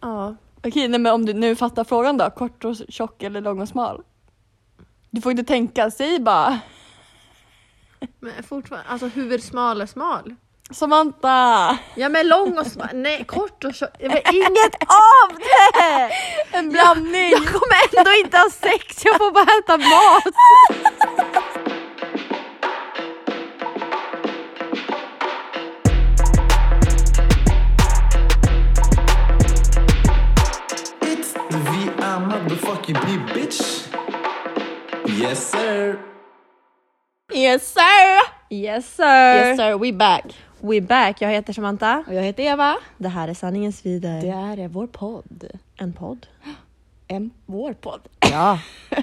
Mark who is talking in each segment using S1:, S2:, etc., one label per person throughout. S1: Ja.
S2: Okej, nej, men om du nu fattar frågan då. Kort och tjock eller lång och smal? Du får inte tänka, säg bara.
S1: Men fortfarande, alltså hur smal är smal?
S2: Samantha!
S1: Ja men lång och smal, nej kort och tjock, det var inget av det!
S2: En blandning!
S1: Jag kommer ändå inte ha sex, jag får bara äta mat!
S3: It's the VR motherfucking P, bitch. Yes, sir.
S2: Yes sir!
S1: Yes sir!
S2: Yes sir, we back!
S1: We back, jag heter Samantha.
S2: Och jag heter Eva.
S1: Det här är sanningens vider.
S2: Det här är vår podd.
S1: En podd.
S2: En, vår podd.
S1: Ja.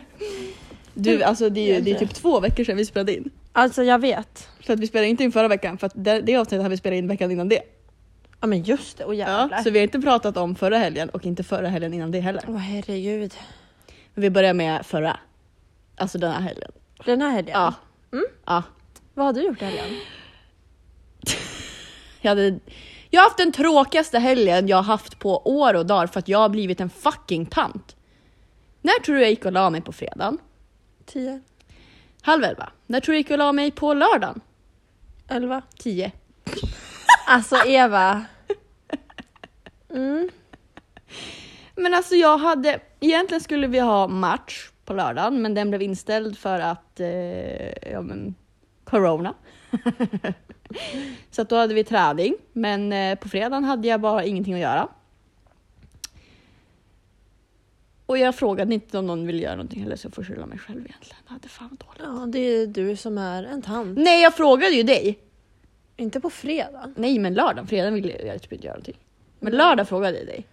S2: Du, alltså det är, ju, det är typ två veckor sedan vi spelade in.
S1: Alltså jag vet.
S2: För att vi spelade inte in förra veckan, för att det, det avsnittet hade vi spelat in veckan innan det.
S1: Ja men just det, och jävlar.
S2: Så vi har inte pratat om förra helgen och inte förra helgen innan det heller.
S1: Åh herregud.
S2: Men vi börjar med förra. Alltså den här helgen.
S1: Den här helgen?
S2: Ja. Mm. ja.
S1: Vad har du gjort i helgen?
S2: Jag, hade, jag har haft den tråkigaste helgen jag har haft på år och dagar för att jag har blivit en fucking tant. När tror du jag gick och la mig på fredagen?
S1: Tio.
S2: Halv elva. När tror du jag gick och la mig på lördagen?
S1: Elva.
S2: Tio.
S1: Alltså Eva.
S2: Mm. Men alltså jag hade, egentligen skulle vi ha match på lördagen men den blev inställd för att, eh, ja men, corona. så att då hade vi träning men eh, på fredagen hade jag bara ingenting att göra. Och jag frågade inte om någon ville göra någonting eller så jag får skylla mig själv egentligen. Jag hade fan vad dåligt.
S1: Ja det är du som är en tant.
S2: Nej jag frågade ju dig!
S1: Inte på fredag.
S2: Nej men lördagen, fredagen ville jag typ inte göra någonting. Men lördag frågade jag dig.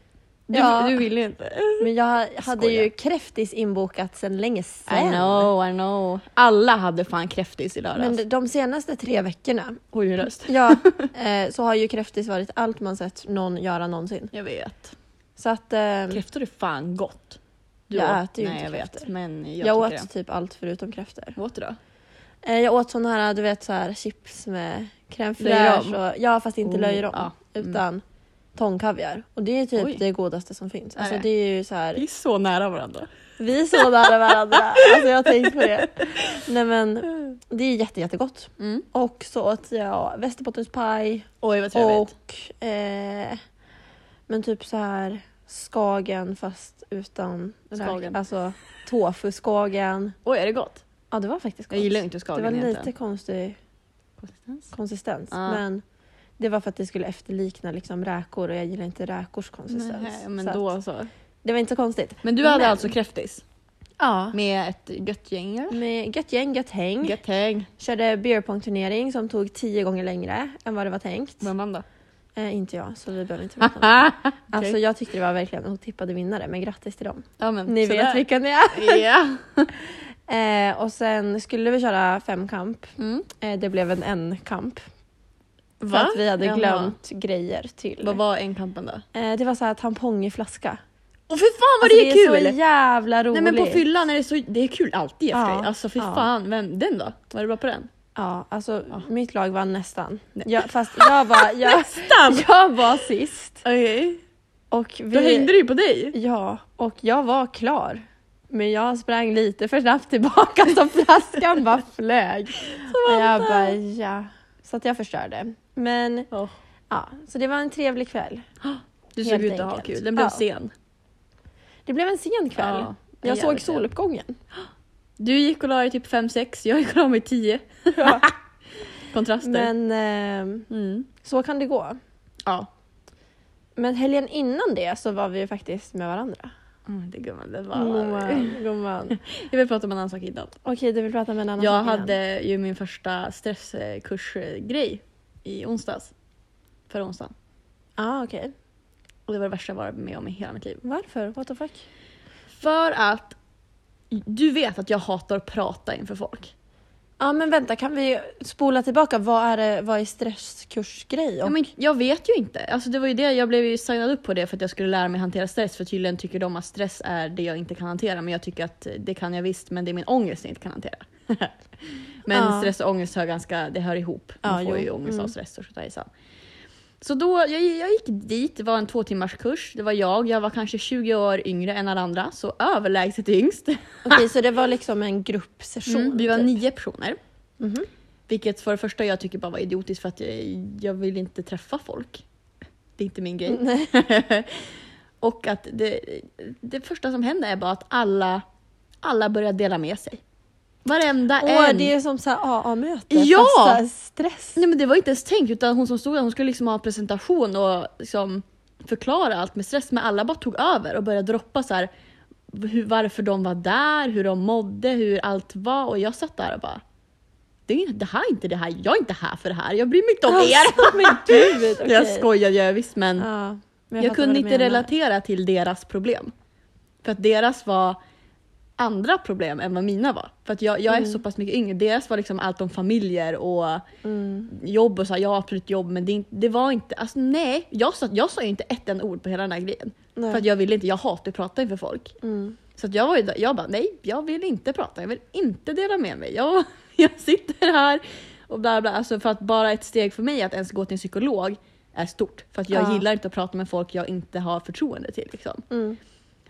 S2: Du,
S1: Mm. Ja.
S2: du ville inte.
S1: Men jag hade
S2: skojar.
S1: ju kräftis inbokat sedan länge
S2: I
S1: sen.
S2: know, I know. Alla hade fan kräftis i lördags.
S1: Men de- de senaste tre veckorna
S2: Oj, min röst.
S1: ja, eh, så har ju kräftis varit allt man sett någon göra någonsin.
S2: Jag vet.
S1: Så att eh,
S2: Kräftor är fan gott.
S1: Jag
S2: åt-
S1: äter ju
S2: Nej,
S1: inte
S2: jag vet.
S1: kräftor.
S2: Men jag,
S1: jag
S2: tycker
S1: åt typ allt förutom kräftor.
S2: det. Åt du då?
S1: Eh, jag åt sådana här, du vet så här chips med crème
S2: Löjrom.
S1: fraîche och ja fast inte
S2: Oh,
S1: löjrom
S2: ja. Mm.
S1: utan tångkaviar. Och det är typ
S2: Oj.
S1: det godaste som finns. Alltså
S2: Är det?
S1: det är ju så här
S2: Vi är så nära varandra.
S1: Vi är så nära varandra. Alltså jag har tänkt på det. Nej men det är jätte, jättegott.
S2: Mm.
S1: Och så åt jag västerbottenspaj
S2: Oj, vad trevligt.
S1: och eh, men typ så här Skagen fast utan
S2: Skagen.
S1: räk- alltså tofu-skagen.
S2: Oj, är det gott?
S1: Ja det var faktiskt gott.
S2: Jag gillar inte
S1: det
S2: skagen
S1: var lite
S2: egentligen.
S1: konstig
S2: Konsistens.
S1: konsistens
S2: Ja.
S1: men det var för att det skulle efterlikna liksom räkor och jag gillar inte räkors konsistens.
S2: Nej, men
S1: Så att
S2: då så.
S1: Det var inte så konstigt.
S2: Men du hade
S1: Men-
S2: alltså kräftis
S1: Ja.
S2: med ett gött gäng? eller?
S1: Med gött gäng, gött häng.
S2: Gött häng.
S1: Körde beerpong-turnering som tog tio gånger längre än vad det var tänkt.
S2: Vem vann då?
S1: Eh, inte jag, så vi behöver inte prata om det. Alltså jag tyckte det var verkligen otippade vinnare, men grattis till dem.
S2: ja, men,
S1: Ni
S2: sådär.
S1: vet vilka ni är.
S2: Ja.
S1: Eh, och sen skulle vi köra femkamp.
S2: Mm.
S1: Eh, det blev en en-kamp. För
S2: Va?
S1: att vi hade
S2: Jaha.
S1: glömt grejer till.
S2: Vad var en kampen då?
S1: Eh, det var så här tampong i flaska.
S2: Åh fy fan vad
S1: Alltså,
S2: det är kul!
S1: så jävla roligt.
S2: Nej men på fyllan är det så, det är kul alltid i och för
S1: Ja,
S2: sig. Alltså fy
S1: ja.
S2: fan, vem, den då? Var du bra på den?
S1: Ja, alltså
S2: Ja.
S1: mitt lag vann nästan. Jag, fast jag var, jag, jag var sist.
S2: Okej.
S1: Och vi,
S2: Då hängde det ju på dig.
S1: Ja, och jag var klar. Men jag sprang lite för snabbt tillbaka så flaskan bara flög. Och jag bara, ja. Så att jag förstörde. Men
S2: Åh.
S1: ja, så det var en trevlig kväll.
S2: Du
S1: Helt
S2: såg ut att ha
S1: enkelt.
S2: kul, den blev
S1: Ja.
S2: sen.
S1: Det blev en sen kväll.
S2: Ja,
S1: jag
S2: jävligt
S1: såg
S2: trevligt.
S1: soluppgången.
S2: Du gick och la dig typ 5-6, jag gick och la mig 10. Kontraster.
S1: Men eh,
S2: Mm.
S1: så kan det gå.
S2: Ja.
S1: Men helgen innan det så var vi ju faktiskt med varandra.
S2: Mm, det gumman, det var...
S1: Gumman, gumman.
S2: Jag vill prata om en annan sak innan.
S1: Okej, du vill prata med en annan
S2: Jag
S1: sak innan.
S2: hade ju min första stresskursgrej i onsdags. Förra onsdagen.
S1: Ah, okej.
S2: Och det var det värsta jag varit med om i hela mitt liv.
S1: Varför? What the fuck?
S2: För att du vet att jag hatar att prata inför folk.
S1: Ja men vänta, kan vi spola tillbaka? Vad är, det, vad är stresskursgrej?
S2: Ja, men jag vet ju inte. Alltså, det var ju det, jag blev ju signad upp på det för att jag skulle lära mig hantera stress. För tydligen tycker de att stress är det jag inte kan hantera. Men jag tycker att det kan jag visst, men det är min ångest jag inte kan hantera. men
S1: Ja.
S2: stress och ångest hör ganska, det hör ihop. Man
S1: Ja,
S2: får
S1: jo.
S2: ju ångest
S1: Mm.
S2: av stress och sådär. Så då, jag, jag gick dit, det var en två timmars kurs. Det var jag, jag var kanske 20 år yngre än alla andra, så överlägset yngst.
S1: Okej, så det var liksom en gruppsession?
S2: Mm, vi var
S1: typ. Mhm.
S2: nio personer. Vilket för det första jag tycker bara var idiotiskt för att jag, jag vill inte träffa folk. Det är inte min grej.
S1: Nej.
S2: Och att det, det första som hände är bara att alla, alla börjar dela med sig. Varenda
S1: Åh,
S2: en.
S1: det är som så här AA-möte
S2: Ja!
S1: fast så här stress.
S2: Nej men det var inte ens tänkt utan hon som stod där hon skulle liksom ha en presentation och liksom förklara allt med stress men alla bara tog över och började droppa så här, hur, varför de var där, hur de mådde, hur allt var och jag satt där och bara det, är, det här är inte det här, jag är inte här för det här, jag bryr mig inte om er!
S1: Alltså, men gud! okej.
S2: Jag skojar gör jag visst men
S1: Ja, men
S2: jag,
S1: fattar vad
S2: kunde
S1: du
S2: inte
S1: menar.
S2: relatera till deras problem. För att deras var andra problem än vad mina var. För att jag, jag är
S1: Mm.
S2: så pass mycket yngre. Deras var liksom allt om familjer och
S1: Mm.
S2: jobb och så här, jag har absolut jobb men det, är inte- det var inte, alltså nej. Jag sa, jag sa ju inte ett enda ord på hela den här grejen.
S1: Nej.
S2: För att jag ville inte, jag hatar att prata inför folk.
S1: Mm.
S2: Så att jag var ju där- jag bara nej, jag vill inte prata, jag vill inte dela med mig. Jag, jag sitter här och bla bla. Alltså för att bara ett steg för mig att ens gå till en psykolog är stort. För att jag
S1: Ja.
S2: gillar inte att prata med folk jag inte har förtroende till. Liksom.
S1: Mm.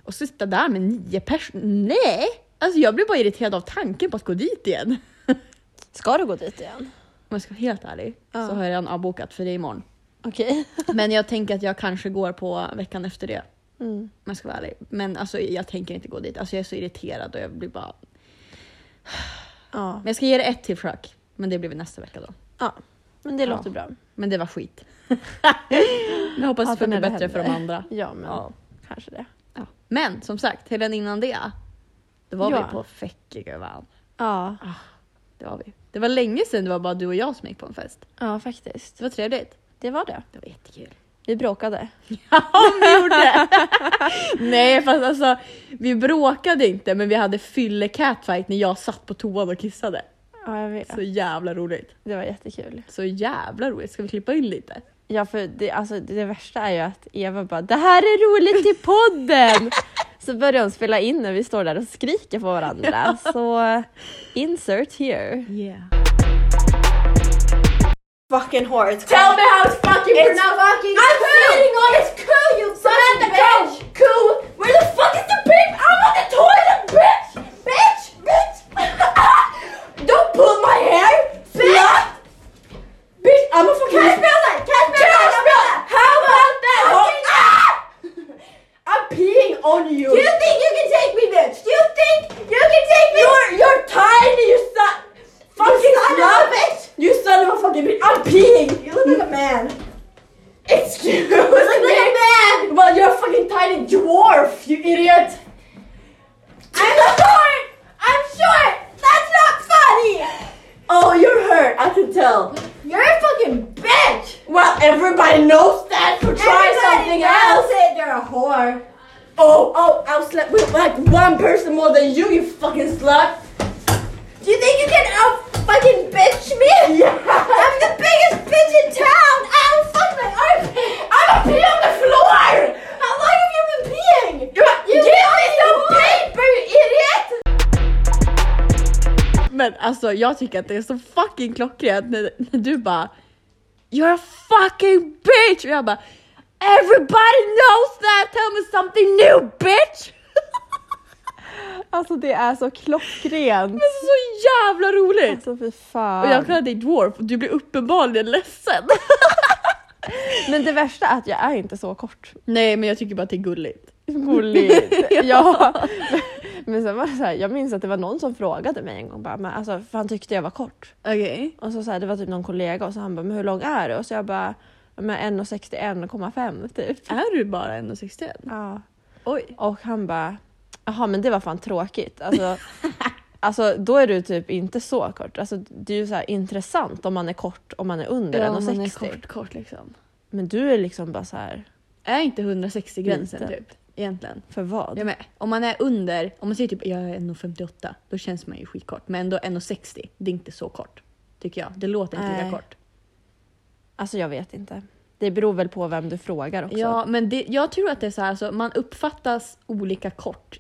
S2: Och sitta där med nio personer, nej! Alltså jag blir bara irriterad av tanken på att gå dit igen.
S1: Ska du gå dit igen?
S2: Om jag ska vara helt ärlig
S1: Ja.
S2: så har jag redan avbokat för det är imorgon.
S1: Okej.
S2: Men jag tänker att jag kanske går på veckan efter det.
S1: Mm.
S2: Om jag ska vara ärlig. Men alltså, jag tänker inte gå dit. Alltså, jag är så irriterad och jag blir bara...
S1: Ja.
S2: Men jag ska ge det ett till försök. Men det blir väl nästa vecka då.
S1: ja, men det
S2: Ja.
S1: låter bra.
S2: Men det var skit. jag hoppas
S1: Ja,
S2: det funkar
S1: när det
S2: bättre för de
S1: händer.
S2: andra.
S1: Ja, men
S2: Ja.
S1: kanske det.
S2: Ja. Men som sagt, helgen innan det. Då var
S1: Ja.
S2: vi på Fäckegövan.
S1: Ja,
S2: Det var vi. Det var länge sedan det var bara du och jag som gick på en fest.
S1: ja faktiskt.
S2: Det var trevligt.
S1: Det var det.
S2: Det var jättekul.
S1: Vi bråkade.
S2: Nej fast alltså, vi bråkade inte men vi hade fylle catfight när jag satt på toan och kissade.
S1: Ja, jag vet.
S2: Så jävla roligt.
S1: Det var jättekul.
S2: Så jävla roligt. Ska vi klippa in lite?
S1: Ja, för det, alltså, det värsta är ju att Eva bara “det här är roligt i podden!” Så börjar hon spela in när vi står där och skriker på varandra. Så insert here.
S2: Yeah.
S1: Fucking horse.
S4: Tell me how it's fucking pronounced. Fucking I'm sitting on this coup, you son of a bitch. Coup. Where the fuck is the babe? I'm on the toilet, bitch. Bitch. Bitch. Don't pull my hair. Slut. Bitch, I'm a fucking. Can I spell that? Can I spell that? How about that? I'm peeing on you. Do you think you can take me, bitch? Do you think you can take me? You're you're tiny, you son. Fucking son of a bitch. You son of a fucking bitch. I'm peeing. You look like a man. Excuse me. You look like a man. Well, you're a fucking tiny dwarf, you idiot. I'm short. I'm short. That's not funny. Oh, you're hurt. I can tell. You're a fucking bitch. Well, everybody knows that. So try something else. It. You're a whore. Oh, oh, I'll slap with like one person more than you, you fucking slut. Do you think you can out fucking bitch me? Yeah. I'm the biggest bitch in town. Ow, fuck my armpit. I'm a pee on the floor. How long have you been peeing? You, you give me some paper, you idiot.
S2: Men alltså jag tycker att det är så fucking klockrent när, när du bara You're a fucking bitch! Och jag bara Everybody knows that! Tell me something new bitch!
S1: Alltså det är så klockrent.
S2: Det är så jävla roligt!
S1: Alltså fy
S2: Och jag
S1: fan.
S2: kallar dig dwarf och du blir uppenbarligen ledsen.
S1: Men det värsta är att jag är inte så kort.
S2: Nej men jag tycker bara att det är gulligt.
S1: Gulligt. ja. Men sen var det så här, jag minns att det var någon som frågade mig en gång bara, men alltså, för han tyckte jag var kort.
S2: Okej.
S1: Och så, så här, det var typ någon kollega och så han bara, men hur lång är du? Och så jag bara, men 1,61,5 typ.
S2: Är du bara 1,61?
S1: Ja.
S2: Oj.
S1: Och han bara, jaha men det var fan tråkigt. Alltså, alltså då är du typ inte så kort. Alltså, det är ju så här intressant om man är kort om man är under 1,60.
S2: kort kort liksom.
S1: Men du är liksom bara så här,
S2: Är inte 160 gränsen
S1: Lite.
S2: typ? Egentligen.
S1: för vad?
S2: Jag med. Om man är under, om man säger typ jag är 1,58 då känns man ju skitkort. Men ändå 1,60 det är inte så kort. Tycker jag. Det låter inte lika
S1: Nej.
S2: kort.
S1: Alltså jag vet inte. Det beror väl på vem du frågar också.
S2: Ja men det, jag tror att det är så här, alltså, man uppfattas olika kort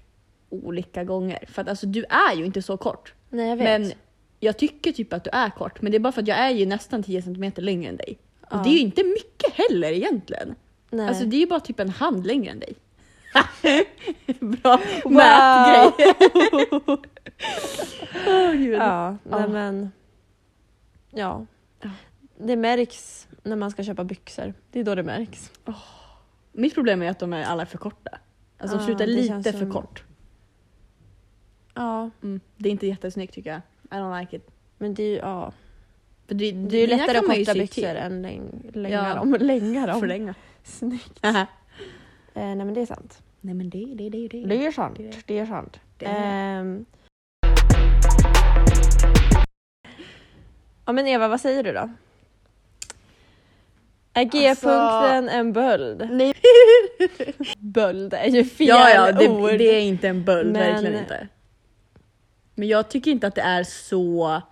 S2: olika gånger. För att alltså du är ju inte så kort.
S1: Nej jag vet.
S2: Men jag tycker typ att du är kort. Men det är bara för att jag är ju nästan 10 cm längre än dig. Och
S1: Ja.
S2: det är ju inte mycket. heller egentligen.
S1: Nej.
S2: Alltså det är ju bara typ en hand längre än dig.
S1: bra
S2: Mätgrej. Åh gud.
S1: Ja, nej
S2: Ja.
S1: men. Ja.
S2: Ja.
S1: Det märks när man ska köpa byxor. Det är då det märks.
S2: Mitt problem är att de är alla för korta. Alltså de
S1: Ja,
S2: slutar
S1: det
S2: lite
S1: känns
S2: för
S1: som-
S2: kort.
S1: Ja,
S2: Mm. Det är inte jättesnyggt tycker jag. I don't like it.
S1: men det är ju, ja.
S2: För det,
S1: det är ju
S2: dina
S1: lättare
S2: Mm, kan
S1: att
S2: man ju
S1: korta
S2: sy
S1: byxor
S2: till.
S1: än läng, länga
S2: Ja.
S1: dem. Länga dem.
S2: Förlänga.
S1: Snyggt.
S2: Aha.
S1: Eh, nej men det är sant.
S2: Nej men det, det, det, det.
S1: Det är sant.
S2: Det är det.
S1: Det är sant.
S2: Det är
S1: Ehm. Ja men Eva, vad säger du då? Är G-punkten en böld?
S2: Alltså- Nej.
S1: Böld är ju fel
S2: Ja, ja, det,
S1: ord.
S2: det är inte en böld,
S1: Men-
S2: verkligen inte. Men jag tycker inte att det är så,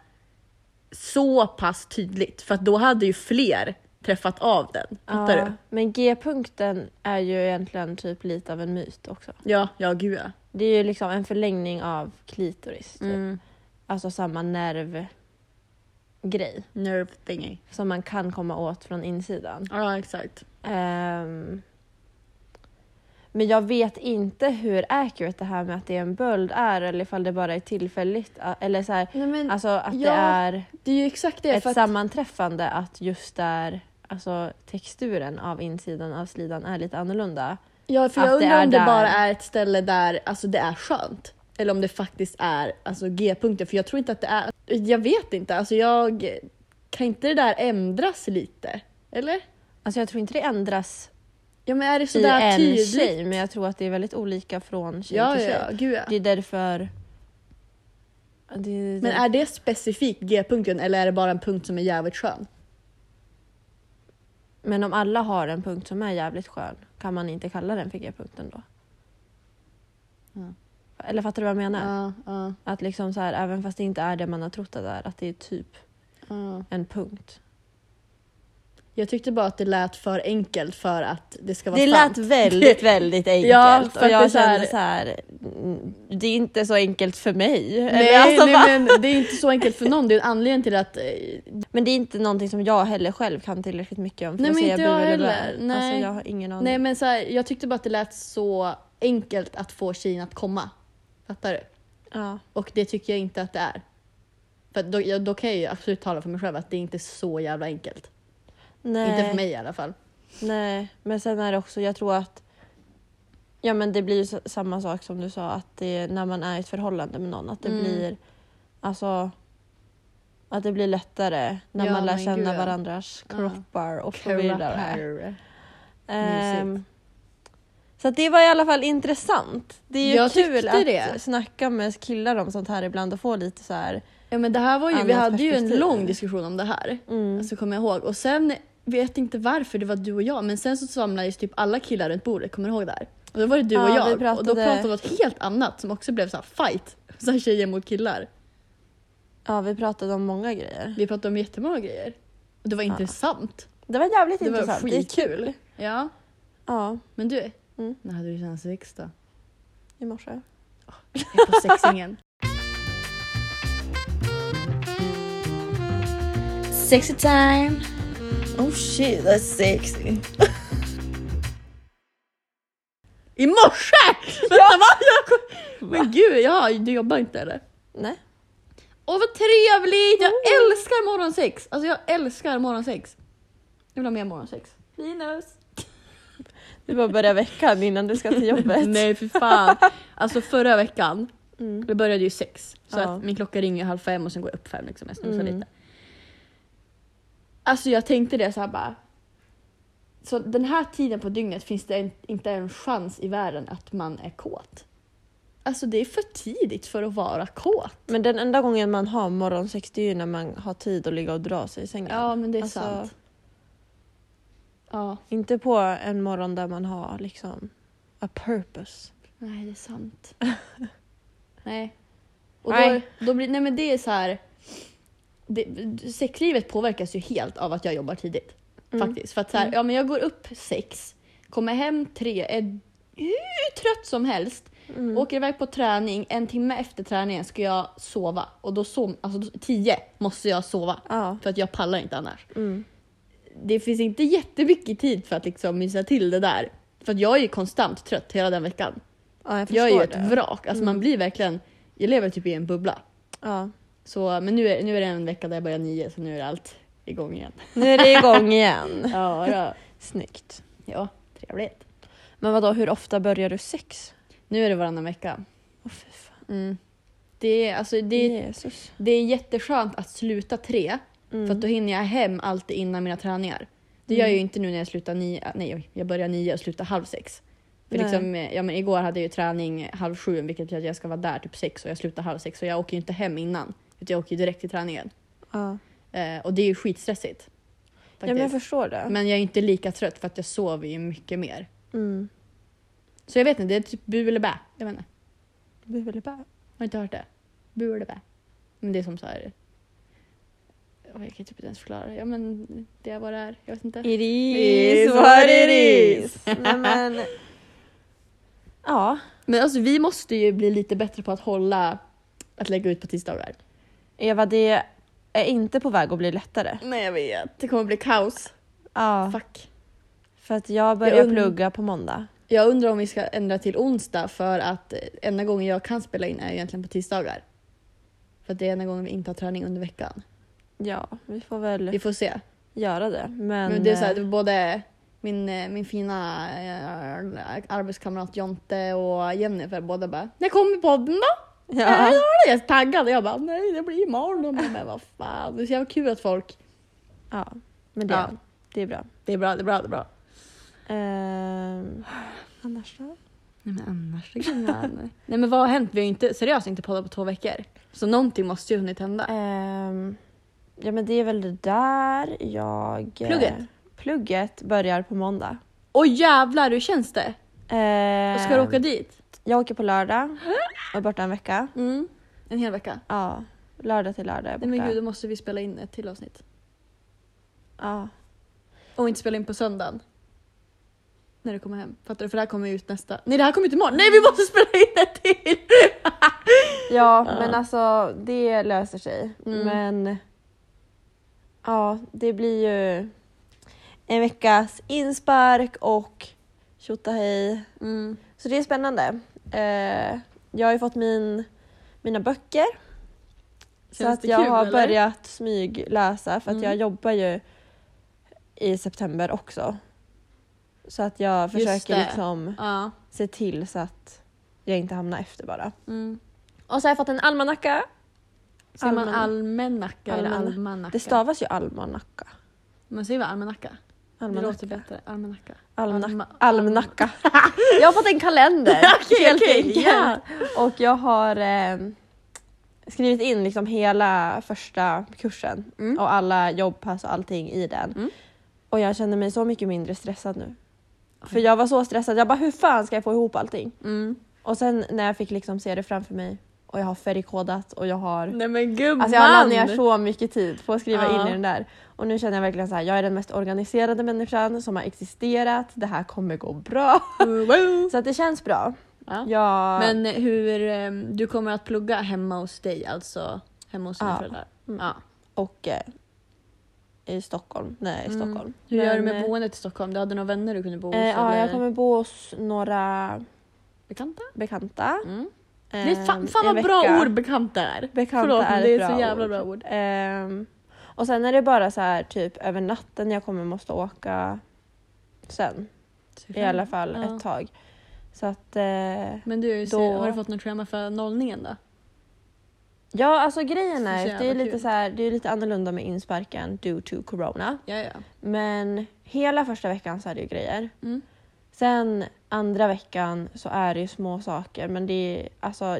S2: så pass tydligt, för att då hade ju fler träffat av den. Fattar
S1: Ja,
S2: du?
S1: Men G-punkten är ju egentligen typ lite av en myt också.
S2: Ja, ja gud ja.
S1: Det är ju liksom en förlängning av klitoris. Typ.
S2: Mm.
S1: Alltså samma nervgrej
S2: Nerve thingy.
S1: som man kan komma åt från insidan.
S2: Ja, exakt.
S1: Ehm, men jag vet inte hur accurate det här med att det är en böld är eller ifall det bara är tillfälligt. a- Eller så här,
S2: Nej, men
S1: alltså att
S2: ja,
S1: det är
S2: det är ju exakt det.
S1: ett sammanträffande att just där alltså, texturen av insidan av slidan är lite annorlunda.
S2: Ja, för
S1: Att
S2: jag
S1: det
S2: undrar
S1: är
S2: om det
S1: där.
S2: bara är ett ställe där alltså, det är skönt. Eller om det faktiskt är alltså, G-punkter. För jag tror inte att det är... Jag vet inte. Alltså, jag... Kan inte det där ändras lite? Eller?
S1: Alltså jag tror inte det ändras
S2: Ja, men är det
S1: i
S2: sådär
S1: en
S2: tydligt?
S1: tjej men jag tror att det är väldigt olika från tjej
S2: Ja,
S1: till tjej.
S2: ja, gud ja.
S1: Det är därför... Det är,
S2: Men är det specifikt G-punkten eller är det bara en punkt som är jävligt skön?
S1: men om alla har en punkt som är jävligt skön kan man inte kalla den för G-punkten då?
S2: Ja.
S1: Eller fattar du vad jag menar?
S2: Ja, ja,
S1: Att liksom så här, även fast det inte är det man har trott att det är, att det är typ
S2: ja.
S1: en punkt.
S2: Jag tyckte bara att det lät för enkelt för att det ska vara
S1: Det
S2: sant.
S1: lät väldigt, väldigt enkelt.
S2: Ja, för
S1: och
S2: att det är
S1: jag
S2: så här-
S1: kände så här, mm, det är inte så enkelt för mig.
S2: Nej,
S1: Eller alltså, va?
S2: nej men det är inte så enkelt för någon. Det är en anledning till att... eh,
S1: Men det är inte någonting som jag heller själv kan tillräckligt mycket om. För
S2: Nej,
S1: att
S2: men
S1: säga
S2: inte
S1: bu
S2: jag
S1: eller bä.
S2: heller.
S1: Alltså,
S2: Nej.
S1: jag har ingen aning.
S2: Nej men så här, jag tyckte bara att det lät så enkelt att få tjejen att komma. Fattar du?
S1: ja.
S2: Och det tycker jag inte att det är. För att då, jag, då kan jag ju absolut tala för mig själv att det inte är så jävla enkelt.
S1: Nej.
S2: Inte för mig i alla fall.
S1: Nej, men sen är det också, jag tror att Ja men det blir ju s- samma sak som du sa att det är när man är i ett förhållande med någon att det
S2: Mm.
S1: blir Alltså Att det blir lättare när
S2: Ja,
S1: man lär
S2: men
S1: känna
S2: gud, ja.
S1: varandras
S2: Ja.
S1: kroppar och så vidare.
S2: Curlapar.
S1: Ehm,
S2: Mysigt.
S1: så att det var i alla fall intressant. Det är ju
S2: Jag
S1: kul
S2: tyckte
S1: att
S2: det.
S1: snacka med killar om sånt här ibland och få lite så här.
S2: Ja men det här var ju, vi
S1: Annat
S2: hade ju en
S1: perspektiv.
S2: lång diskussion om det här.
S1: Mm.
S2: Alltså kommer jag ihåg. Och sen, vet inte varför det var du och jag, men sen så samlades typ alla killar runt bordet, kommer du ihåg det här? Och då var det du
S1: Ja,
S2: och
S1: vi
S2: jag och då
S1: pratade-
S2: pratade vi om något helt annat som också blev så här fight. Så här tjejer mot killar.
S1: Ja vi pratade om många grejer.
S2: Vi pratade om jättemånga grejer. Och det var intressant.
S1: Det var jävligt
S2: Det var
S1: intressant. Det är
S2: skitkul.
S1: kul.
S2: Ja.
S1: Ja,
S2: Men du,
S1: Mm.
S2: när hade du sen sex då?
S1: i morse.
S2: Jag är på sexingen. Sexy time!
S1: Oh shit that's sexy.
S2: I morse! Vänta va? Jag kom... Men gud, ja, du jobbar inte eller?
S1: Nej.
S2: Åh vad trevligt! Jag
S1: Mm.
S2: älskar morgonsex! Alltså jag älskar morgonsex. Jag vill ha mer morgonsex. Linus!
S1: Du bara börjar veckan innan du ska till jobbet.
S2: Nej för fan. Alltså förra veckan,
S1: Mm.
S2: det började ju sex. Så
S1: Ja.
S2: att min klocka ringer halv fem och sen går jag upp fem liksom. Jag snusar
S1: Mm.
S2: lite. Alltså jag tänkte det så här bara. Så den här tiden på dygnet finns det en, inte en chans i världen att man är kåt. Alltså det är för tidigt för att vara kåt.
S1: Men den enda gången man har morgonsex det är ju när man har tid att ligga och dra sig i sängen.
S2: Ja men det är
S1: Alltså,
S2: sant. Ja,
S1: Inte på en morgon där man har liksom a purpose.
S2: nej det är sant. nej. Och då,
S1: Nej.
S2: då blir, nej men det är så här. Det, sexlivet påverkas ju helt av att jag jobbar tidigt.
S1: Mm.
S2: Faktiskt. För att så här, ja men jag går upp sex, kommer hem tre, är hur trött som helst.
S1: Mm.
S2: Åker iväg på träning, en timme efter träningen ska jag sova. Och då sov, alltså då- tio måste jag sova.
S1: Ja.
S2: För att jag pallar inte annars.
S1: Mm.
S2: det finns inte jättemycket tid för att liksom mysa till det där. För att jag är ju konstant trött hela den veckan.
S1: Ja, jag förstår
S2: Jag är ju ett
S1: det. Mm.
S2: vrak. Alltså man blir verkligen, jag lever typ i en bubbla.
S1: Ja.
S2: Så, men nu är, nu är det en vecka där jag börjar nio så nu är det allt igång igen.
S1: Nu är det igång igen.
S2: Ja, ja.
S1: Snyggt.
S2: ja trevligt.
S1: Men vadå, hur ofta börjar du sex?
S2: Nu är det varannan vecka.
S1: Åh fy fan.
S2: Mm. Det, är, alltså, det,
S1: Mm.
S2: är-
S1: Jesus.
S2: det är jätteskönt att sluta tre
S1: Mm.
S2: för att då hinner jag hem alltid innan mina träningar. Det gör jag ju inte nu när jag slutar nio, äh, nej jag börjar nio och slutar halv sex. För
S1: Nej.
S2: liksom, eh, ja, men igår hade jag ju träning halv sju vilket betyder att jag ska vara där typ sex och jag slutar halv sex så jag åker ju inte hem innan. Utan jag åker ju direkt till träningen.
S1: Ja.
S2: Eh, och det är ju skitstressigt.
S1: ja, men jag
S2: faktiskt.
S1: förstår det.
S2: Men jag är inte lika trött för att jag sover ju mycket mer.
S1: Mm.
S2: Så jag vet inte, det är typ bu eller bä. Jag vet inte.
S1: Det är väl bra.
S2: Har inte hört det? Bu eller bä. Men det är som så här... Åh, Jag kan typ inte ens förklara. Ja men det är vad det är. Jag vet inte.
S1: It
S2: is what it is.
S1: Nej, men... Ja.
S2: Men alltså vi måste ju bli lite bättre på att hålla att lägga ut på tisdagar.
S1: Eva, det är inte på väg att bli lättare.
S2: Nej jag vet. Det kommer bli kaos.
S1: Ja,
S2: Fuck.
S1: för att jag börjar
S2: Jag und-
S1: plugga på måndag.
S2: Jag undrar om vi ska ändra till onsdag för att eh, enda gången jag kan spela in är ju egentligen på tisdagar. För att det är enda gången vi inte har träning under veckan.
S1: Ja, vi får väl
S2: Vi får se.
S1: göra det. Men,
S2: Men det är så här, det
S1: eh,
S2: var både min, eh, min fina eh, arbetskamrat Jonte och Jennifer båda bara “När kommer podden då?” ja. Jag
S1: ja.
S2: var det, jag är taggad och jag bara “Nej, det blir imorgon”. De bara, men vad fan, det är så jävla kul att folk...
S1: ja, men det,
S2: Ja.
S1: det är bra.
S2: Det är bra, det är bra, det är bra.
S1: Ehm, annars då?
S2: Nej men annars det Nej men vad har hänt? Vi har ju inte, seriöst inte poddat på två veckor. Så någonting måste ju ha hunnit hända.
S1: Ehm, ja, men det är väl det där jag... eh,
S2: Plugget?
S1: Plugget börjar på måndag.
S2: Åh jävlar, hur känns det?
S1: Ehm,
S2: Och ska du åka dit?
S1: Jag åker på lördag och är borta en vecka.
S2: Mm. En hel vecka?
S1: Ja, lördag till lördag är jag
S2: Nej
S1: borta.
S2: men gud, då måste vi spela in ett till avsnitt.
S1: ja.
S2: Och inte spela in på söndagen. När du kommer hem. Fattar du? För det här kommer ju ut nästa... Nej det här kommer ut imorgon!
S1: Mm.
S2: Nej vi måste spela in ett till!
S1: Ja, men alltså det löser sig.
S2: Mm.
S1: Men ja, det blir ju en veckas inspark och tjotahej.
S2: Mm.
S1: Så det är spännande. Eh, jag har ju fått min, mina böcker. så
S2: Känns
S1: att
S2: det
S1: jag
S2: kul,
S1: har
S2: eller?
S1: börjat smygläsa för att
S2: Mm.
S1: jag jobbar ju i september också. Så att jag
S2: Just
S1: försöker
S2: det.
S1: liksom
S2: Ja.
S1: se till så att jag inte hamnar efter bara.
S2: Mm.
S1: Och så har jag fått en almanacka.
S2: Säger man
S1: Almanacka.
S2: almanacka eller
S1: Almanacka.
S2: almanacka?
S1: Det stavas ju almanacka.
S2: Man säger väl almanacka? Det låter
S1: Almanacka.
S2: bättre. Almanacka.
S1: Almanac-
S2: Alma-
S1: Almanacka. Jag har fått en kalender
S2: Okej,
S1: helt
S2: okej,
S1: enkelt.
S2: ja.
S1: Och jag har eh, skrivit in liksom hela första kursen
S2: Mm.
S1: och alla jobbpass och allting i den.
S2: Mm.
S1: Och jag känner mig så mycket mindre stressad nu. För jag var så stressad, jag bara hur fan ska jag få ihop allting?
S2: Mm.
S1: Och sen när jag fick liksom se det framför mig och jag har färgkodat och jag har
S2: Nej men gumman!
S1: Alltså jag la ner så mycket tid på att skriva
S2: Ja.
S1: in i den där. Och nu känner jag verkligen så här, jag är den mest organiserade människan som har existerat. Det här kommer gå bra. Så att det känns bra.
S2: ja.
S1: Jag,
S2: Men eh, hur... ehm, Du kommer att plugga hemma hos dig alltså? Hemma hos dina
S1: Ja.
S2: föräldrar?
S1: Mm.
S2: Ja.
S1: Och eh, i Stockholm. Nej, i
S2: Mm.
S1: Stockholm.
S2: Hur gör du
S1: Men,
S2: med boendet i Stockholm? Du hade några vänner du kunde bo hos?
S1: Eh, ja,
S2: eller
S1: jag kommer bo hos några
S2: Bekanta?
S1: bekanta.
S2: Mm.
S1: Eh,
S2: Det är fan, fan
S1: en
S2: vad bra
S1: vecka.
S2: ord bekanta är.
S1: Bekanta
S2: Förlåt, men
S1: är
S2: det
S1: ett
S2: är
S1: bra
S2: så jävla
S1: ord.
S2: bra ord.
S1: Ehm, och sen är det bara så här typ över natten jag kommer måste åka sen. I alla fall
S2: Mm. Ja.
S1: ett tag. Så att eh,
S2: Men du, så,
S1: Då-
S2: har du fått något schema för nollningen då?
S1: Ja, alltså grejen
S2: Så
S1: är att det är
S2: jävla
S1: lite
S2: kul.
S1: så här, det är lite annorlunda med insparken due to corona.
S2: Ja, ja.
S1: Men hela första veckan så är det ju grejer.
S2: Mm.
S1: Sen andra veckan så är det ju små saker men det är alltså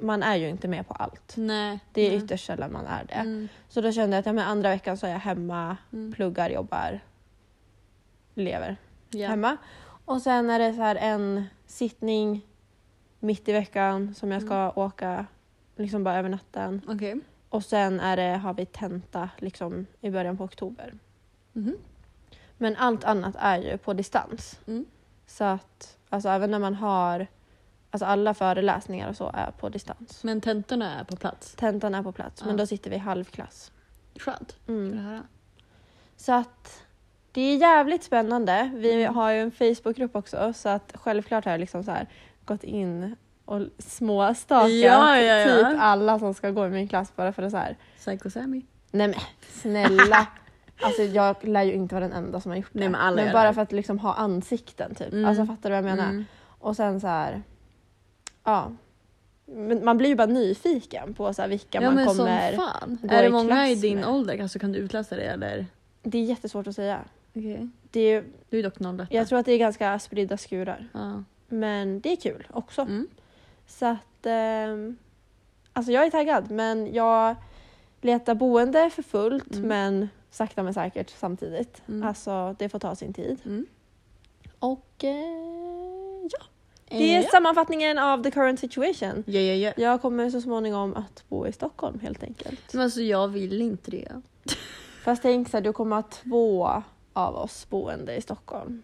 S1: man är ju inte med på allt.
S2: Nej.
S1: Det är
S2: nej.
S1: ytterst sällan man är det.
S2: Mm.
S1: Så då kände jag att ja, men andra veckan så är jag hemma,
S2: Mm.
S1: pluggar, jobbar, lever
S2: Ja.
S1: hemma. Och sen är det så här en sittning mitt i veckan som jag ska
S2: Mm.
S1: åka liksom bara över natten.
S2: Okej.
S1: Och sen är det, har vi tenta liksom, i början på oktober.
S2: Mhm.
S1: Men allt annat är ju på distans.
S2: Mm.
S1: Så att alltså, även när man har alltså, alla föreläsningar och så är på distans.
S2: Men tentorna är på plats.
S1: Tentan är på plats men
S2: Ja.
S1: då sitter vi i halvklass.
S2: Skönt.
S1: Mm.
S2: Vill du höra?
S1: Så att Det är jävligt spännande. Vi
S2: Mm.
S1: har ju en Facebookgrupp också så att självklart har jag liksom så här gått in och småstakat
S2: Ja, ja, ja.
S1: typ alla som ska gå i min klass bara för att så här.
S2: Psycho Sammy.
S1: Nej men snälla. Alltså jag lär ju inte vara den enda som har gjort det.
S2: Nej, men alla gör
S1: bara
S2: det.
S1: för att liksom ha ansikten typ.
S2: Mm.
S1: Alltså fattar du vad jag menar?
S2: Mm.
S1: Och sen så här. Ja. Men man blir ju bara nyfiken på så här vilka
S2: Ja
S1: man
S2: men som
S1: kommer.
S2: fan.
S1: gå
S2: Är det
S1: i
S2: många i
S1: klass
S2: din
S1: med.
S2: ålder? Alltså kan du utläsa det eller?
S1: Det är jättesvårt att säga.
S2: Okej.
S1: Det är, ju-
S2: Du är dock 01.
S1: jag tror att det är ganska spridda skurar.
S2: Ja.
S1: Men det är kul också.
S2: Mm.
S1: Så att... ehm, alltså jag är taggad men jag letar boende för fullt
S2: Mm.
S1: men sakta men säkert samtidigt.
S2: Mm.
S1: Alltså det får ta sin tid.
S2: Mm.
S1: Och eh, ja, det är sammanfattningen av the current situation.
S2: Ja, ja, ja.
S1: Jag kommer så småningom att bo i Stockholm helt enkelt.
S2: Men alltså jag vill inte det.
S1: Fast tänk så här, du kommer ha två av oss boende i Stockholm.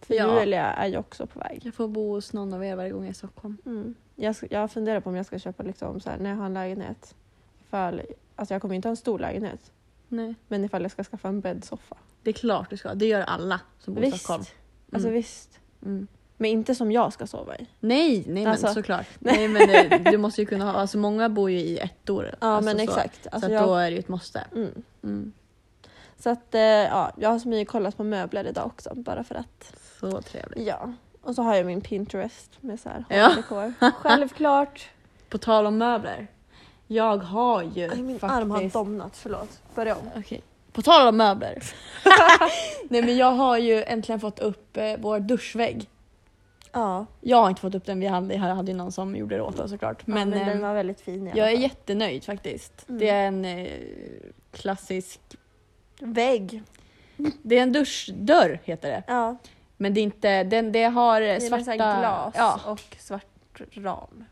S1: För
S2: Ja.
S1: Julia är ju också på väg.
S2: Jag får bo hos någon av er varje gång jag är i Stockholm.
S1: Mm. Jag, ska- jag funderar på om jag ska köpa liksom så här, när jag har en lägenhet. Ifall, alltså jag kommer inte ha en stor lägenhet.
S2: Nej.
S1: Men ifall jag ska skaffa en bäddsoffa.
S2: Det är klart du ska. Det gör alla som bor i
S1: Visst.
S2: Stockholm.
S1: Alltså
S2: Mm.
S1: visst.
S2: Mm.
S1: Men inte som jag ska sova i.
S2: Nej, nej
S1: Alltså-
S2: men såklart. Nej men eh, du måste ju kunna ha, alltså många bor ju i ettor.
S1: Ja
S2: alltså,
S1: men
S2: så.
S1: exakt.
S2: Så
S1: Alltså,
S2: att
S1: jag,
S2: då är det ju ett måste.
S1: mm.
S2: Mm.
S1: så att eh, ja, jag har smygkollat på möbler idag också bara för att.
S2: Så trevligt.
S1: Ja. Och så har jag min Pinterest med så här
S2: Ja.
S1: ja. Självklart.
S2: På tal om möbler. Jag har ju
S1: Aj, min
S2: faktiskt...
S1: arm har domnat, förlåt. Börja om.
S2: Okej. På tal om möbler. nej men jag har ju äntligen fått upp eh, vår duschvägg.
S1: Ja,
S2: Jag har inte fått upp den, vi hade, hade ju någon som gjorde det åt oss såklart.
S1: men,
S2: Men,
S1: men
S2: ehm,
S1: den var väldigt fin i alla
S2: jag är
S1: fall.
S2: jättenöjd faktiskt.
S1: Mm.
S2: Det är en eh, klassisk...
S1: Vägg.
S2: Det är en duschdörr heter det.
S1: Ja.
S2: Men det är inte, den, det har eh,
S1: Det är
S2: svarta...
S1: med så här glas
S2: ja.
S1: och svart ram.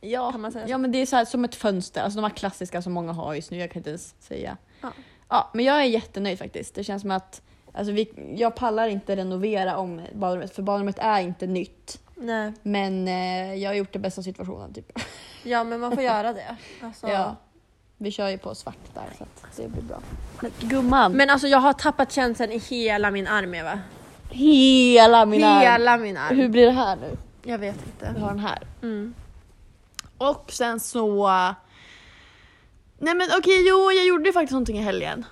S2: Ja.
S1: Kan man säga så?
S2: ja, men det är så här, som ett fönster. Alltså de här klassiska som många har just nu. Jag kan inte ens säga.
S1: Ja.
S2: Ja, men jag är jättenöjd faktiskt. Det känns som att alltså vi, jag pallar inte renovera om badrummet för badrummet är inte nytt.
S1: Nej.
S2: Men eh, jag har gjort det bästa av situationen. Typ.
S1: Ja men man får göra det. Alltså.
S2: Ja. Vi kör ju på svart där så att det blir bra. Men gumman!
S1: Men alltså jag har tappat känslan i hela min arm Eva.
S2: hela min arm!
S1: Hela min arm.
S2: Hur blir det här nu?
S1: Jag vet inte.
S2: Vi har den här.
S1: Mm.
S2: Och sen så... Nej men okej, jo jag gjorde faktiskt någonting i helgen.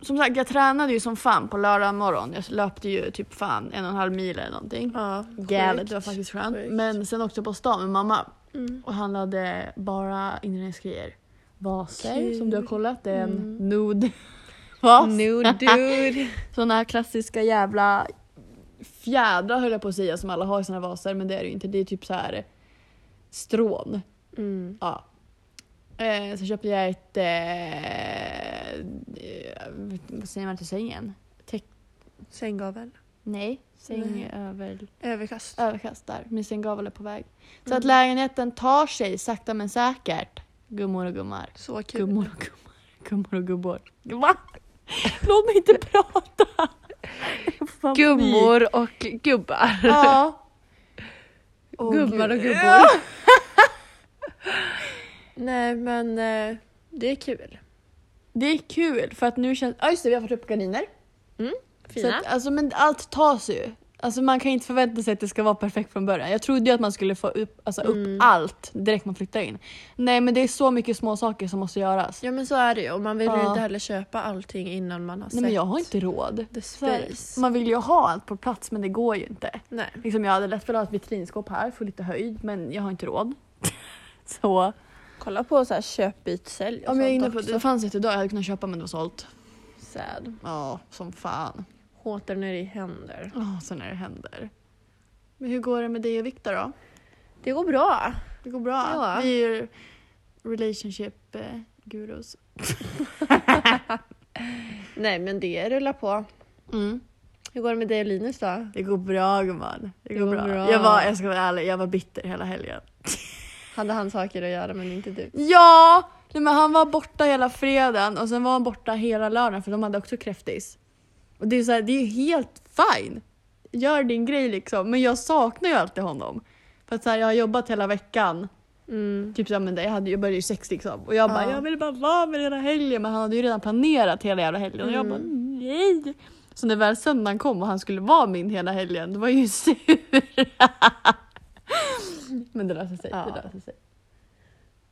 S2: Som sagt, jag tränade ju som fan på lördag morgon. Jag löpte ju typ fan en och en halv mil eller någonting.
S1: Ja,
S2: Galet,
S1: sjukt.
S2: det var faktiskt skönt.
S1: Sjukt.
S2: Men sen åkte jag på stan med mamma
S1: Mm.
S2: och handlade bara inredningsgrejer. Vaser
S1: Kul.
S2: som du har kollat, det är en
S1: Mm.
S2: nude vas.
S1: No dude.
S2: Såna här klassiska jävla fjädrar höll jag på att säga som alla har i sina vaser men det är det ju inte. Det är typ så här strån.
S1: mm.
S2: Ja. Eh, så köpte jag ett... Eh, eh, vad säger man till sängen? Täck...
S1: Sänggavel.
S2: Nej.
S1: Nej.
S2: Sängöver...
S1: Överkast.
S2: Överkast där. Min sänggavel är på väg. Så
S1: Mm.
S2: att lägenheten tar sig sakta men säkert. Gummor och gummar.
S1: Så kul.
S2: Gummor och gummar. Gummor och gummor. Va? Låt mig inte prata! Fan,
S1: Gummor och gubbar.
S2: Ja.
S1: Gummar och gubbor. Nej men eh, det är kul.
S2: Det är kul för att nu känns... Ja just det, vi har fått upp gardiner. Så
S1: Fina.
S2: att, alltså, men allt tas ju. Alltså, man kan inte förvänta sig att det ska vara perfekt från början. Jag trodde ju att man skulle få upp, alltså, upp
S1: Mm.
S2: allt direkt man flyttar in. Nej men det är så mycket små saker som måste göras.
S1: Ja men så är det ju och man vill ju
S2: Ja.
S1: inte heller köpa allting innan man har sett
S2: Nej men jag har inte råd.
S1: the
S2: Så här,
S1: space.
S2: Man vill ju ha allt på plats men det går ju inte.
S1: Nej.
S2: Liksom, jag hade lätt velat ha ett vitrinskåp här, få lite höjd men jag har inte råd. så.
S1: Kolla på så här köp, byt, sälj och
S2: Om jag är
S1: sånt
S2: inne på,
S1: också.
S2: det fanns ett idag jag hade kunnat köpa men det var sålt.
S1: Sad.
S2: Ja, som fan.
S1: Håter när det händer.
S2: Oh, så när det händer. Men hur går det med dig och Viktor då?
S1: Det går bra.
S2: Det går bra.
S1: Ja.
S2: Vi är ju relationship eh, gurus.
S1: Nej men det rullar på.
S2: Mm.
S1: Hur går det med dig och Linus då?
S2: Det går bra gumman. Det, går, bra.
S1: bra.
S2: Jag, var, jag ska vara ärlig, jag var bitter hela helgen.
S1: Hade han saker att göra men inte du?
S2: Ja! Nej, men han var borta hela fredagen och sen var han borta hela lördagen för de hade också kräftis. Och det är, så här, det är ju helt fine. Gör din grej liksom. Men jag saknar ju alltid honom. För att så här, jag har jobbat hela veckan.
S1: Mm.
S2: Typ som med dig, jag hade- jag började ju sex liksom. Och jag bara,
S1: Ja.
S2: Mm. jag vill bara vara med hela helgen. Men han hade ju redan planerat hela jävla helgen. Och jag bara, nej. Så när väl söndagen kom och han skulle vara min hela helgen, då var jag ju sur. Men det löser sig.
S1: Ja.
S2: Det löser sig.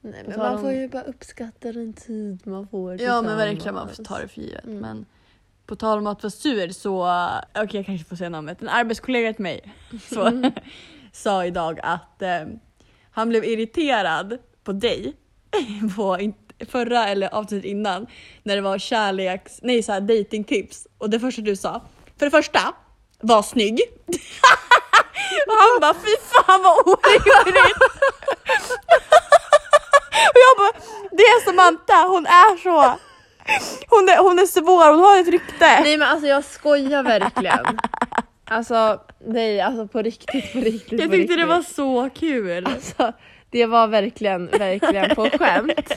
S1: Nej,
S2: På
S1: men
S2: tal
S1: man
S2: om-
S1: får ju bara uppskatta den tid man får
S2: Ja men
S1: tillsammans.
S2: verkligen, man får ta det för givet. Men på tal om att vara sur så, okej jag kanske får säga namnet, en arbetskollega till mig så, sa idag att eh, han blev irriterad på dig på in- förra eller avsnittet innan när det var kärleks, nej såhär datingtips och det första du sa, för det första, var snygg. och han bara fy fan vad orimligt! Och jag bara, det är Samantha, hon är så. Hon är, hon är svår, hon har ett rykte.
S1: Nej men alltså jag skojar verkligen. Alltså nej, alltså på riktigt, på riktigt.
S2: jag
S1: på
S2: tyckte
S1: riktigt.
S2: det var så kul.
S1: Alltså, det var verkligen, verkligen på skämt.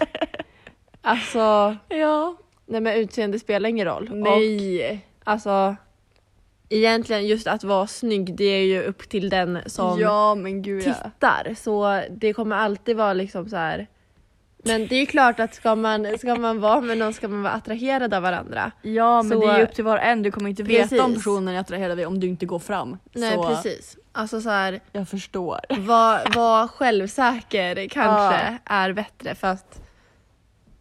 S1: Alltså,
S2: Ja.
S1: nej men utseende spelar ingen roll.
S2: Nej.
S1: Och, alltså, egentligen just att vara snygg det är ju upp till den som
S2: ja men gud ja.
S1: tittar. Så det kommer alltid vara liksom så här. Men det är ju klart att ska man, ska man vara med någon ska man vara attraherad av varandra.
S2: Ja men
S1: Så-
S2: det är ju upp till var och en, du kommer inte veta om
S1: Precis.
S2: personen är attraherad av om du inte går fram.
S1: Nej
S2: så
S1: precis. Alltså så här,
S2: jag förstår.
S1: Var, var självsäker kanske är bättre för att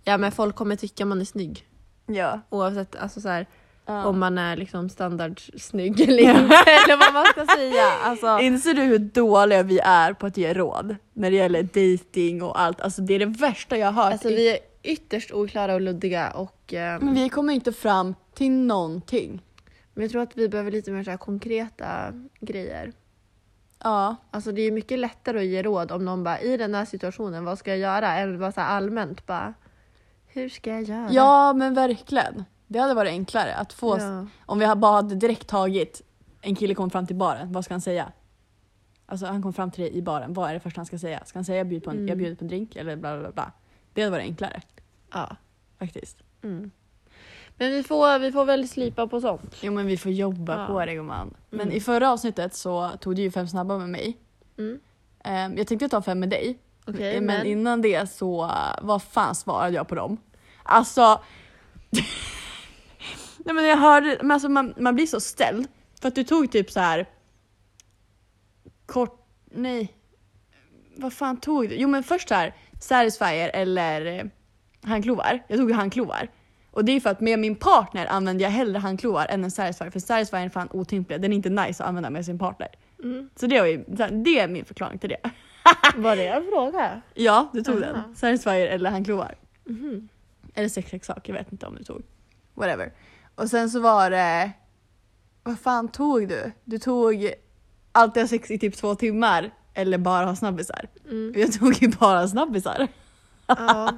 S1: ja, men folk kommer tycka man är snygg.
S2: Ja.
S1: Oavsett alltså så här,
S2: Ja.
S1: om man är liksom standardsnygg eller inte. eller vad man ska säga. Alltså,
S2: Inser du hur dåliga vi är på att ge råd när det gäller dating och allt? Alltså det är det värsta jag har hört.
S1: alltså, vi är ytterst oklara och luddiga och eh,
S2: Men vi kommer inte fram till någonting.
S1: men jag tror att vi behöver lite mer så här konkreta grejer.
S2: Ja.
S1: Alltså det är ju mycket lättare att ge råd om någon bara i den här situationen, vad ska jag göra? Eller bara så här allmänt bara, hur ska jag göra?
S2: Ja men verkligen. Det hade varit enklare att få,
S1: Ja.
S2: om vi bara hade direkt tagit, en kille kom fram till baren, vad ska han säga? Alltså han kom fram till dig i baren, vad är det första han ska säga? Ska han säga jag bjuder på en,
S1: Mm.
S2: jag bjuder på en drink eller bla bla bla? Det hade varit enklare
S1: Ja.
S2: faktiskt.
S1: Men vi får, vi får väl slipa på sånt.
S2: Jo men vi får jobba
S1: Ja.
S2: på det gumman. Men i förra avsnittet så tog du ju fem snabba med mig.
S1: Mm.
S2: Ehm, jag tänkte ta fem med dig.
S1: Okej,
S2: men,
S1: Eh, men-
S2: innan det så, eh, vad fan svarade jag på dem? Alltså... Nej men jag hörde, men alltså man, man blir så ställd. För att du tog typ så här. Kort, nej. Vad fan tog du? Jo men först så här, satisfier eller eh, handklovar. Jag tog ju handklovar. Och det är för att med min partner använder jag hellre handklovar än en satisfier. För satisfier är fan otymplig, den är inte nice att använda med sin partner. Så det, var ju, det är min förklaring till det.
S1: Var det en fråga?
S2: Ja, du tog den. Satisfyer eller handklovar. Eller sexleksak, jag vet inte om du tog. Mhm. Whatever. Och sen så var det... Vad fan tog du? Du tog alltid ha sex i typ två timmar eller bara ha snabbisar. Och Jag tog ju bara snabbisar.
S1: Ja.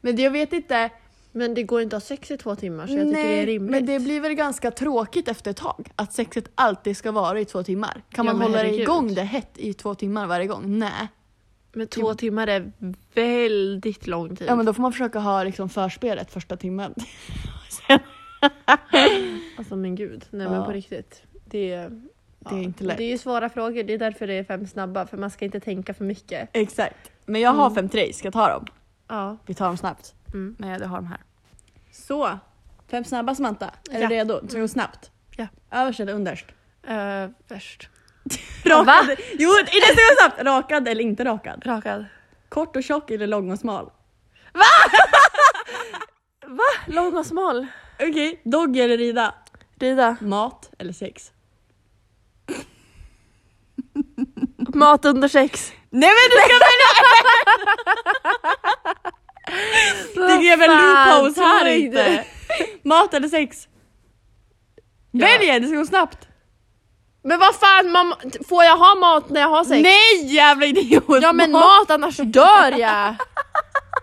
S2: Men det, jag vet inte.
S1: Men det går inte att ha sex i två timmar så jag tycker det är rimligt.
S2: men det blir väl ganska tråkigt efter ett tag att sexet alltid ska vara i två timmar. Kan
S1: Ja,
S2: man
S1: men
S2: hålla
S1: herregud.
S2: igång det hett i två timmar varje gång? Nej.
S1: Men två timmar är väldigt lång tid.
S2: Ja men då får man försöka ha liksom förspelet första timmen. Sen
S1: Alltså men gud, nej
S2: Ja.
S1: men på riktigt. Det, är-
S2: Det är inte lätt.
S1: Det är ju svåra frågor, det är därför det är fem snabba för man ska inte tänka för mycket.
S2: Exakt. Men jag har fem till dig, ska jag ta dem?
S1: Ja.
S2: Mm. Vi tar dem snabbt.
S1: Mm.
S2: Men jag har dem här. Så, fem snabba Samantha. Är
S1: Ja.
S2: du redo? Ska vi gå snabbt?
S1: Ja.
S2: Överst eller underst?
S1: Uh, först.
S2: Rakad. Jo, det ska gå snabbt! Rakad eller inte rakad?
S1: Rakad.
S2: Kort och tjock eller lång och smal?
S1: Lång och smal.
S2: Okej, dogg eller rida?
S1: Rida.
S2: Mat eller sex?
S1: Mat under sex.
S2: Nej men du ska välja! Det är väl loopholes här inte? Mat eller sex? Välj en, det ska gå snabbt!
S1: Men vad fan, mamma, får jag ha mat när jag har sex?
S2: Nej jävla idiot!
S1: Ja men mat annars dör jag!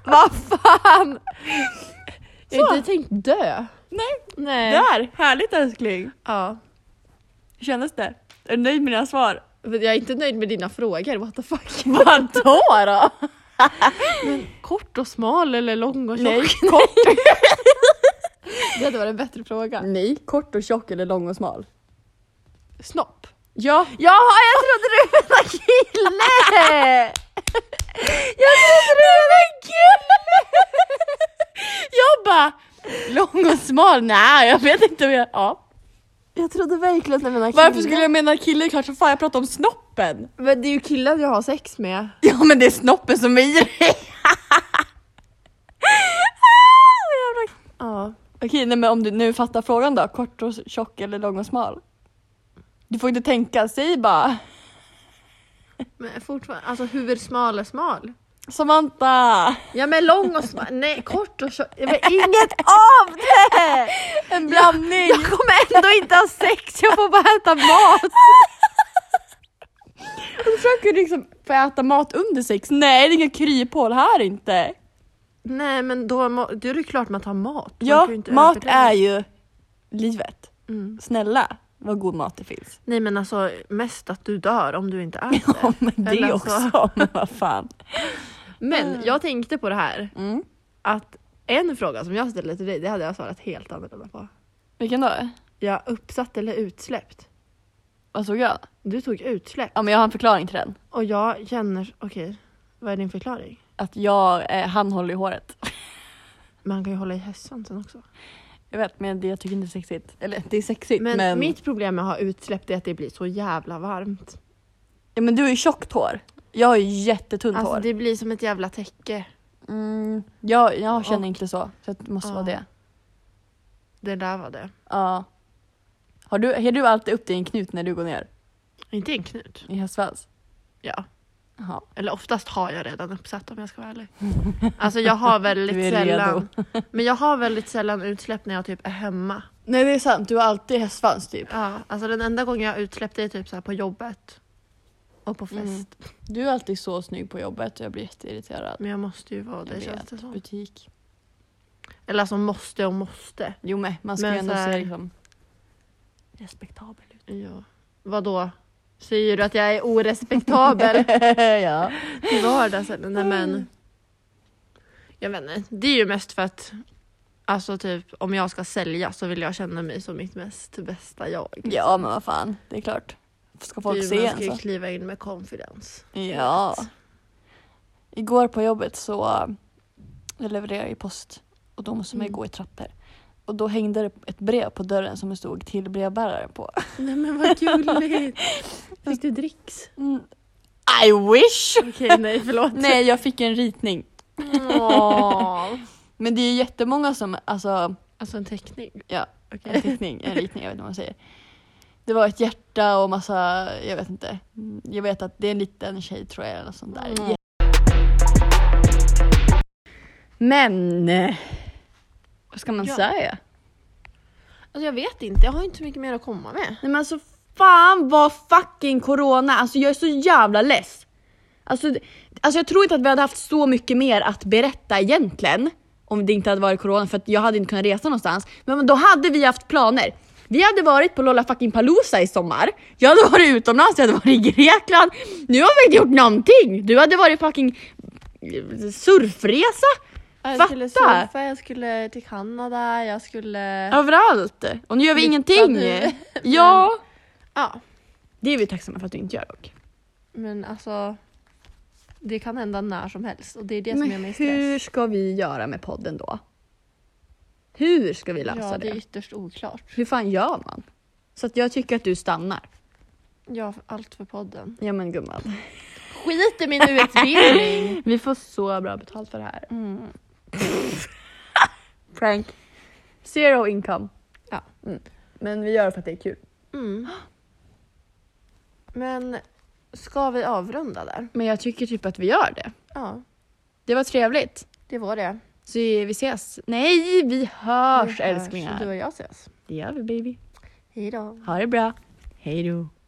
S1: vad fan! Jag har
S2: Så.
S1: inte tänkt dö.
S2: Nej.
S1: Nej.
S2: Där! Härligt älskling!
S1: Ja.
S2: Hur kändes det? Är du nöjd med dina svar?
S1: Men Jag är inte nöjd med dina frågor, what the fuck.
S2: Vadå då?
S1: Kort och smal eller lång och tjock?
S2: Nej, kort.
S1: Det hade varit en bättre fråga.
S2: Nej, kort och tjock eller lång och smal?
S1: Snopp.
S2: Ja,
S1: Jaha, jag trodde du menade kille! Jag trodde du menade kille!
S2: jag bara... Lång och smal? Nej, jag vet inte hur jag... Ja.
S4: Jag trodde verkligen att mina
S5: Varför skulle jag mena kille? Klart som fan jag pratar om snoppen.
S1: Men det är ju killar jag har sex med.
S5: Ja men det är snoppen som är i dig.
S1: Ja.
S5: Okej nej, men om du nu fattar frågan då. Kort och tjock eller lång och smal? Du får inte tänka, säg bara.
S1: Men fortfarande, alltså hur smal är smal?
S5: Samantha!
S1: Ja men lång och smal, nej kort och tjock. Ja, men Inget av det!
S5: En blandning!
S1: Jag kommer ändå inte ha sex, jag får bara äta mat.
S5: Du försöker liksom få äta mat under sex. Nej det är inga kryphål här inte.
S1: Nej men då, må- då är det klart man tar mat. Man
S5: Ja,
S1: kan ju inte
S5: mat
S1: överdriva.
S5: är ju livet.
S1: Mm.
S5: Snälla, vad god mat det finns.
S1: Nej men alltså mest att du dör om du inte äter.
S5: Ja men det
S1: Eller
S5: också, men vad fan.
S1: Men jag tänkte på det här,
S5: Mm.
S1: att en fråga som jag ställde till dig, det hade jag svarat helt annorlunda på.
S5: Vilken då?
S1: Ja, uppsatt eller utsläppt?
S5: Vad såg jag?
S1: Du tog utsläpp.
S5: Ja men jag har en förklaring till den.
S1: Och jag känner, okej, vad är din förklaring?
S5: Att jag, eh, han håller i håret.
S1: Men han kan ju hålla i höstsvansen också.
S5: Jag vet men det jag tycker inte är sexigt. Eller det är sexigt
S1: Men,
S5: men...
S1: mitt problem med att ha utsläpp är att det blir så jävla varmt.
S5: Ja, men du har ju tjockt hår. Jag har ju jättetunt
S1: Alltså
S5: hår.
S1: det blir som ett jävla täcke.
S5: Mm, jag, jag känner
S1: Och-
S5: inte så. Så att det måste
S1: Ja.
S5: vara det.
S1: Det där var det.
S5: Ja. Har du, har du alltid upp dig i en knut när du går ner?
S1: Inte en knut.
S5: I hästsvans?
S1: Ja.
S5: Jaha.
S1: Eller oftast har jag redan uppsatt om jag ska vara ärlig. Alltså jag har
S5: Du
S1: väldigt
S5: är redo.
S1: sällan. Men jag har väldigt sällan utsläpp när jag typ är hemma.
S5: Nej det är sant, du har alltid hästsvans typ.
S1: Ja, alltså den enda gången jag har utsläpp det är typ så här på jobbet. Och på fest.
S5: Mm. Du är alltid så snygg på jobbet och jag blir jätteirriterad.
S1: Men jag måste ju vara det
S5: Jag
S1: känns
S5: vet.
S1: det som.
S5: Butik.
S1: Eller alltså måste och måste.
S5: Jo men man ska
S1: Men
S5: ju ändå
S1: så här-
S5: se liksom respektabel ut.
S1: Ja. Vadå? Säger du att jag är orespektabel
S5: ja.
S1: till vardags? eller? Nej men. Jag vet inte. Det är ju mest för att Alltså typ om jag ska sälja så vill jag känna mig som mitt mest bästa jag.
S5: ja men vad fan, det är klart. Liksom. Ska folk
S1: Du,
S5: se
S1: man
S5: en
S1: ska ju
S5: så?
S1: kliva in med confidence.
S5: Ja. Igår på jobbet så eh, levererar jag post och då måste man ju
S1: Mm.
S5: gå i trappor. Och då hängde det ett brev på dörren som det stod till brevbäraren på.
S1: Nej men vad gulligt! Fick du dricks?
S5: I wish!
S1: Okej nej förlåt.
S5: Mm. Nej, jag fick en ritning.
S1: Åh.
S5: Men det är jättemånga som, alltså
S1: Alltså en teckning?
S5: Ja.
S1: Okej.
S5: en teckning, en ritning, jag vet inte vad man säger. Det var ett hjärta och massa, jag vet inte. Jag vet att det är en liten tjej tror jag eller något sånt där.
S1: Mm.
S2: Men... eh, Vad ska man
S1: Ja.
S2: säga?
S1: Alltså jag vet inte, jag har inte så mycket mer att komma med.
S2: Nej men alltså fan vad fucking corona, alltså jag är så jävla less. Alltså, d- alltså jag tror inte att vi hade haft så mycket mer att berätta egentligen. Om det inte hade varit corona för att jag hade inte kunnat resa någonstans. Men men då hade vi haft planer. Vi hade varit på Lolla fucking Palooza i sommar. Jag hade varit utomlands, jag hade varit i Grekland. Nu har vi inte gjort någonting. Du hade varit fucking eh, surfresa.
S1: Jag
S2: Fatta!
S1: skulle surfa, jag skulle till Kanada, jag skulle...
S2: Överallt. Och nu gör vi
S1: Lycka
S2: ingenting.
S1: nu.
S2: Ja.
S1: Ja,
S2: Det är vi tacksamma för att du inte gör dock.
S1: men alltså... Det kan hända när som helst och det är det som gör
S2: Men
S1: mig stress.
S2: hur ska vi göra med podden då? Hur ska vi lösa
S1: Ja, det
S2: det?
S1: är ytterst oklart.
S2: Hur fan gör man? Så att jag tycker att du stannar.
S1: Ja, för- allt för podden.
S2: Ja men gumman.
S1: Skit i min utbildning!
S2: Vi får så bra betalt för det här.
S1: Mm.
S2: Prank. Zero income.
S1: Ja.
S2: Mm. Men vi gör det för att det är kul.
S1: Mm. Men ska vi avrunda där?
S2: Men jag tycker typ att vi gör det.
S1: Ja,
S2: Det var trevligt.
S1: det var det.
S2: Så vi ses. Nej, vi hörs
S1: Vi hörs.
S2: älsklingar.
S1: Du och jag ses.
S2: Det gör vi baby.
S1: Hejdå.
S2: Ha det bra. Hej då.